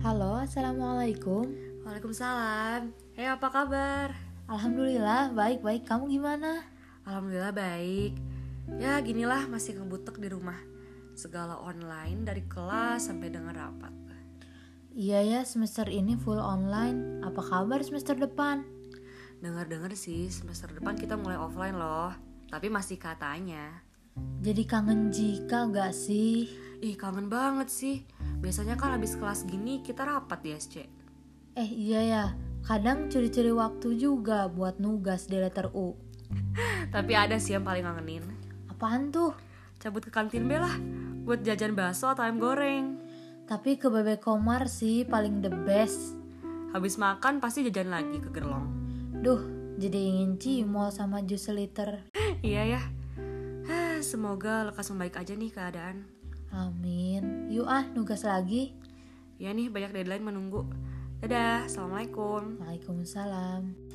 Halo, Assalamualaikum Waalaikumsalam. Hei, apa kabar? Alhamdulillah, baik-baik, kamu gimana? Alhamdulillah baik. Ya, ginilah masih ngebutek di rumah. Segala online dari kelas sampai dengan rapat. Iya ya, semester ini full online Apa kabar semester depan? Dengar-dengar sih semester depan kita mulai offline loh. Tapi masih katanya. Jadi kangen jika gak sih? Ih, kangen banget sih. Biasanya kan habis kelas gini kita rapat di SC. Eh iya ya, kadang curi-curi waktu juga buat nugas di letter U Tapi ada sih yang paling ngangenin. Apaan tuh? Cabut ke kantin be lah buat jajan bakso atau ayam goreng. Tapi ke bebek komar sih paling the best Habis makan pasti jajan lagi ke gerlong. Duh, jadi ingin cimol sama jus liter iya ya. Hah, Semoga lekas membaik aja nih keadaan. Amin Yuk ah, nugas lagi Ya nih banyak deadline menunggu. Dadah, assalamualaikum. Waalaikumsalam